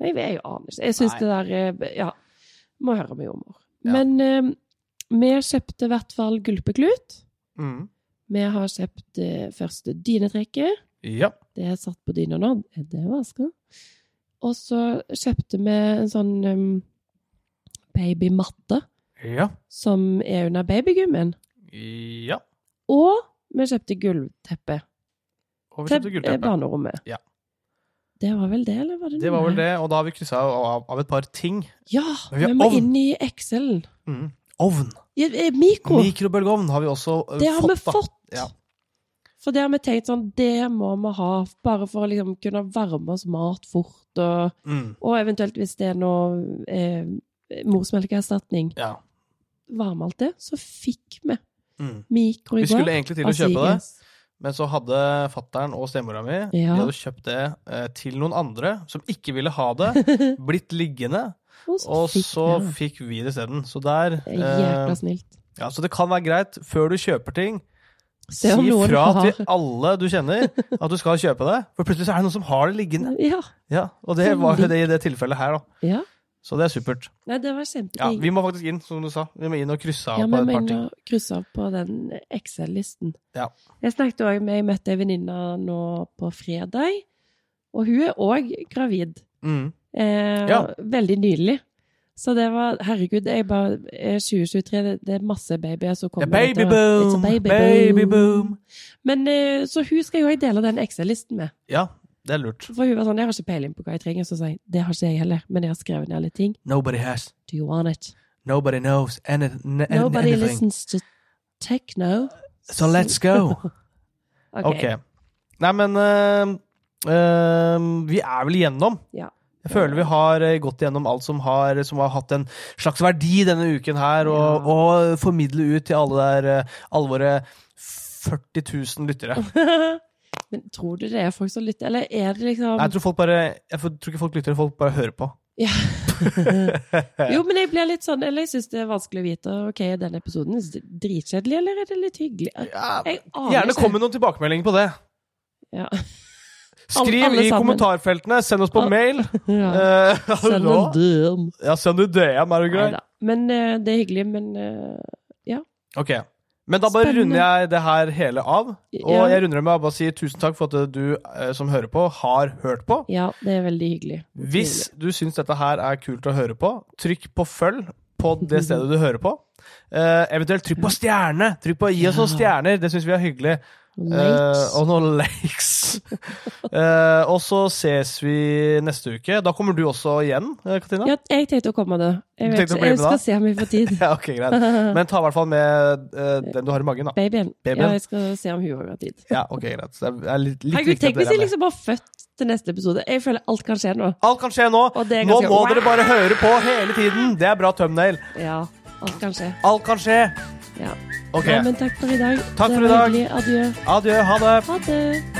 B: Nei, jeg, jeg aner ikke. Jeg syns
A: Nei.
B: det der eh, b- Ja. Må høre med jordmor.
A: Ja.
B: Men eh, vi kjøpte i hvert fall gulpeklut.
A: Mm.
B: Vi har kjøpt eh, første dynetrekket.
A: Ja.
B: Det er satt på dyna nå. Det er vaska. Og så kjøpte vi en sånn em, babymatte
A: Ja.
B: som er under babygummen.
A: Ja.
B: Og vi kjøpte gulvteppe
A: Og vi kjøpte
B: til eh,
A: gullteppe.
B: barnerommet.
A: Ja.
B: Det var vel det, eller var det
A: Det
B: noe
A: var vel
B: mer?
A: det, og da har vi kryssa av, av et par ting.
B: Ja,
A: Men vi har
B: vi må
A: ovn.
B: inn i Excel-en.
A: Mm. Ovn.
B: Ja, eh, Mikro!
A: Mikrobølgeovn har vi også eh,
B: Det har
A: fått.
B: vi
A: da.
B: fått.
A: Ja.
B: For det har vi tenkt sånn, det må vi ha, bare for å liksom kunne varme oss mat fort, og,
A: Mm.
B: og eventuelt hvis det er noe eh, morsmelkeerstatning,
A: Ja.
B: varme alt det, så fikk vi Altså,
A: Mm.
B: mikro i
A: Vi
B: går.
A: skulle egentlig til å
B: av
A: kjøpe det,
B: Sigens.
A: men så hadde fattern og stemora mi
B: Ja.
A: De hadde kjøpt det eh, til noen andre som ikke ville ha det, blitt liggende,
B: Og så
A: og
B: fikk
A: så
B: vi det.
A: fikk vi det isteden. Så der
B: Det er Jækla
A: eh,
B: snilt.
A: Ja, så det kan være greit, før du kjøper ting, si
B: Se om noen
A: fra
B: har.
A: til alle du kjenner at du skal kjøpe det. For plutselig så er det noen som har det liggende.
B: Ja.
A: Ja, Og det var jo det i det tilfellet her, da.
B: ja.
A: Så det er supert.
B: Nei, det var
A: Ja,
B: kjempedigg.
A: Vi må faktisk inn, som du sa. Vi må inn og krysse av
B: Ja,
A: på
B: men
A: et
B: vi
A: par
B: må
A: ting.
B: inn og krysse av på den Excel-listen.
A: Ja.
B: Jeg snakket også med, jeg møtte en venninne nå på fredag, og hun er også gravid.
A: Mm.
B: Eh,
A: Ja.
B: Veldig nylig. Så det var, herregud, jeg bare, eh, 2023, det, det er masse babyer som
A: Det
B: kommer.
A: er
B: etter hvert. It's a
A: babyboom!
B: baby
A: Babyboom!
B: boom. Men, eh, så hun skal jo jeg dele den Excel-listen med.
A: Ja, det er lurt.
B: For hun var sånn, jeg har ikke peiling på hva jeg trenger, så sa jeg, det har ikke jeg heller, men jeg har skrevet ned litt ting.
A: Nobody has.
B: Do you want it?
A: Nobody knows any, n- n-
B: Nobody
A: anything.
B: listens to techno.
A: So let's go.
B: Ok.
A: Ok. Nei, men eh, eh, vi er vel igjennom.
B: Ja.
A: Jeg føler vi har eh, gått igjennom alt som har, som har hatt en slags verdi denne uken her, og,
B: Ja.
A: og formidle ut til alle der eh, alle våre 40 000 lyttere.
B: Men tror du det er folk som lytter, eller er det liksom
A: Jeg tror, folk bare, jeg tror ikke folk lytter, folk bare hører på.
B: Jo, men jeg blir litt sånn Eller jeg syns det er vanskelig å vite. Ok, er denne episoden dritkjedelig, eller er det litt hyggelig?
A: Ja,
B: Jeg aner
A: gjerne
B: ikke.
A: kom med noen tilbakemeldinger på det.
B: Ja.
A: Skriv
B: alle
A: i
B: sammen.
A: kommentarfeltene, send oss på
B: Al-
A: mail.
B: Ja.
A: Eh,
B: Send
A: hallo?
B: en døm.
A: Ja, send du DM, er du grei?
B: Neida. Men eh, det er hyggelig, men eh,
A: Ok. Men da bare
B: Spennende.
A: runder jeg det her hele av. Og
B: Ja.
A: jeg runder det med å bare si tusen takk for at du eh, som hører på, har hørt på.
B: ja, det er veldig hyggelig.
A: Hvis du syns dette her er kult å høre på, trykk på følg på det stedet du hører på. Eh, eventuelt trykk på stjerne! Trykk på gi oss noen
B: Ja.
A: stjerner, det syns vi er hyggelig.
B: Likes.
A: Eh, og noen likes. Eh, og så ses vi neste uke. Da kommer du også igjen, eh, Katina?
B: ja, jeg tenkte å komme, da. Jeg,
A: Du
B: vet,
A: tenkte å
B: ikke.
A: bli med
B: jeg skal
A: da?
B: se om jeg får tid.
A: Ja, ok, greit. Men ta i hvert fall med eh, den du har i magen, da.
B: Babyen.
A: Babyen.
B: Ja, jeg skal se om hun også har tid.
A: Ja, ok, greit. Så det er litt, litt
B: Herregud,
A: viktig at
B: tenk
A: dere
B: hvis
A: er
B: jeg
A: med.
B: liksom bare født til neste episode. Jeg føler alt kan skje nå.
A: Alt kan skje nå.
B: Og det er
A: Nå
B: ganske
A: må dere bare høre på hele tiden. Det er bra thumbnail.
B: Ja, alt kan skje.
A: Alt kan skje.
B: Ja.
A: Ok.
B: Nei, men takk for i dag.
A: Takk
B: Det
A: for i
B: var
A: dag.
B: hyggelig. Adjø.
A: Adjø. Ha det.
B: Ha det.